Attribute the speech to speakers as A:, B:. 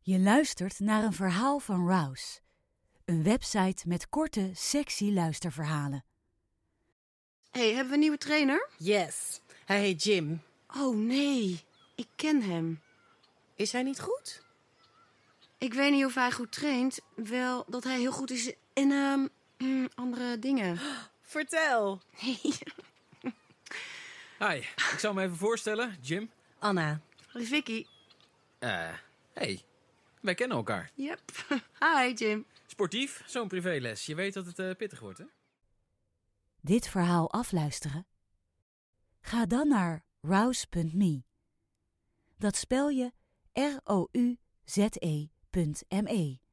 A: Je luistert naar een verhaal van Rouse, een website met korte, sexy luisterverhalen.
B: hey, hebben we een nieuwe trainer?
C: Yes, hij heet Jim.
B: Oh nee, ik ken hem.
C: Is hij niet goed?
B: Ik weet niet of hij goed traint. Wel dat hij heel goed is in ehm, mm, andere dingen.
C: Vertel.
B: Nee,
D: Hi, ik zal me even voorstellen, Jim.
C: Anna.
B: Vicky.
D: Eh, hey, wij kennen elkaar.
B: Yep. Hi Jim.
D: Sportief, zo'n privéles. Je weet dat het eh, pittig wordt, hè?
A: Dit verhaal afluisteren? Ga dan naar rouse.me. E Dat spel je R-O-U-Z-E.me.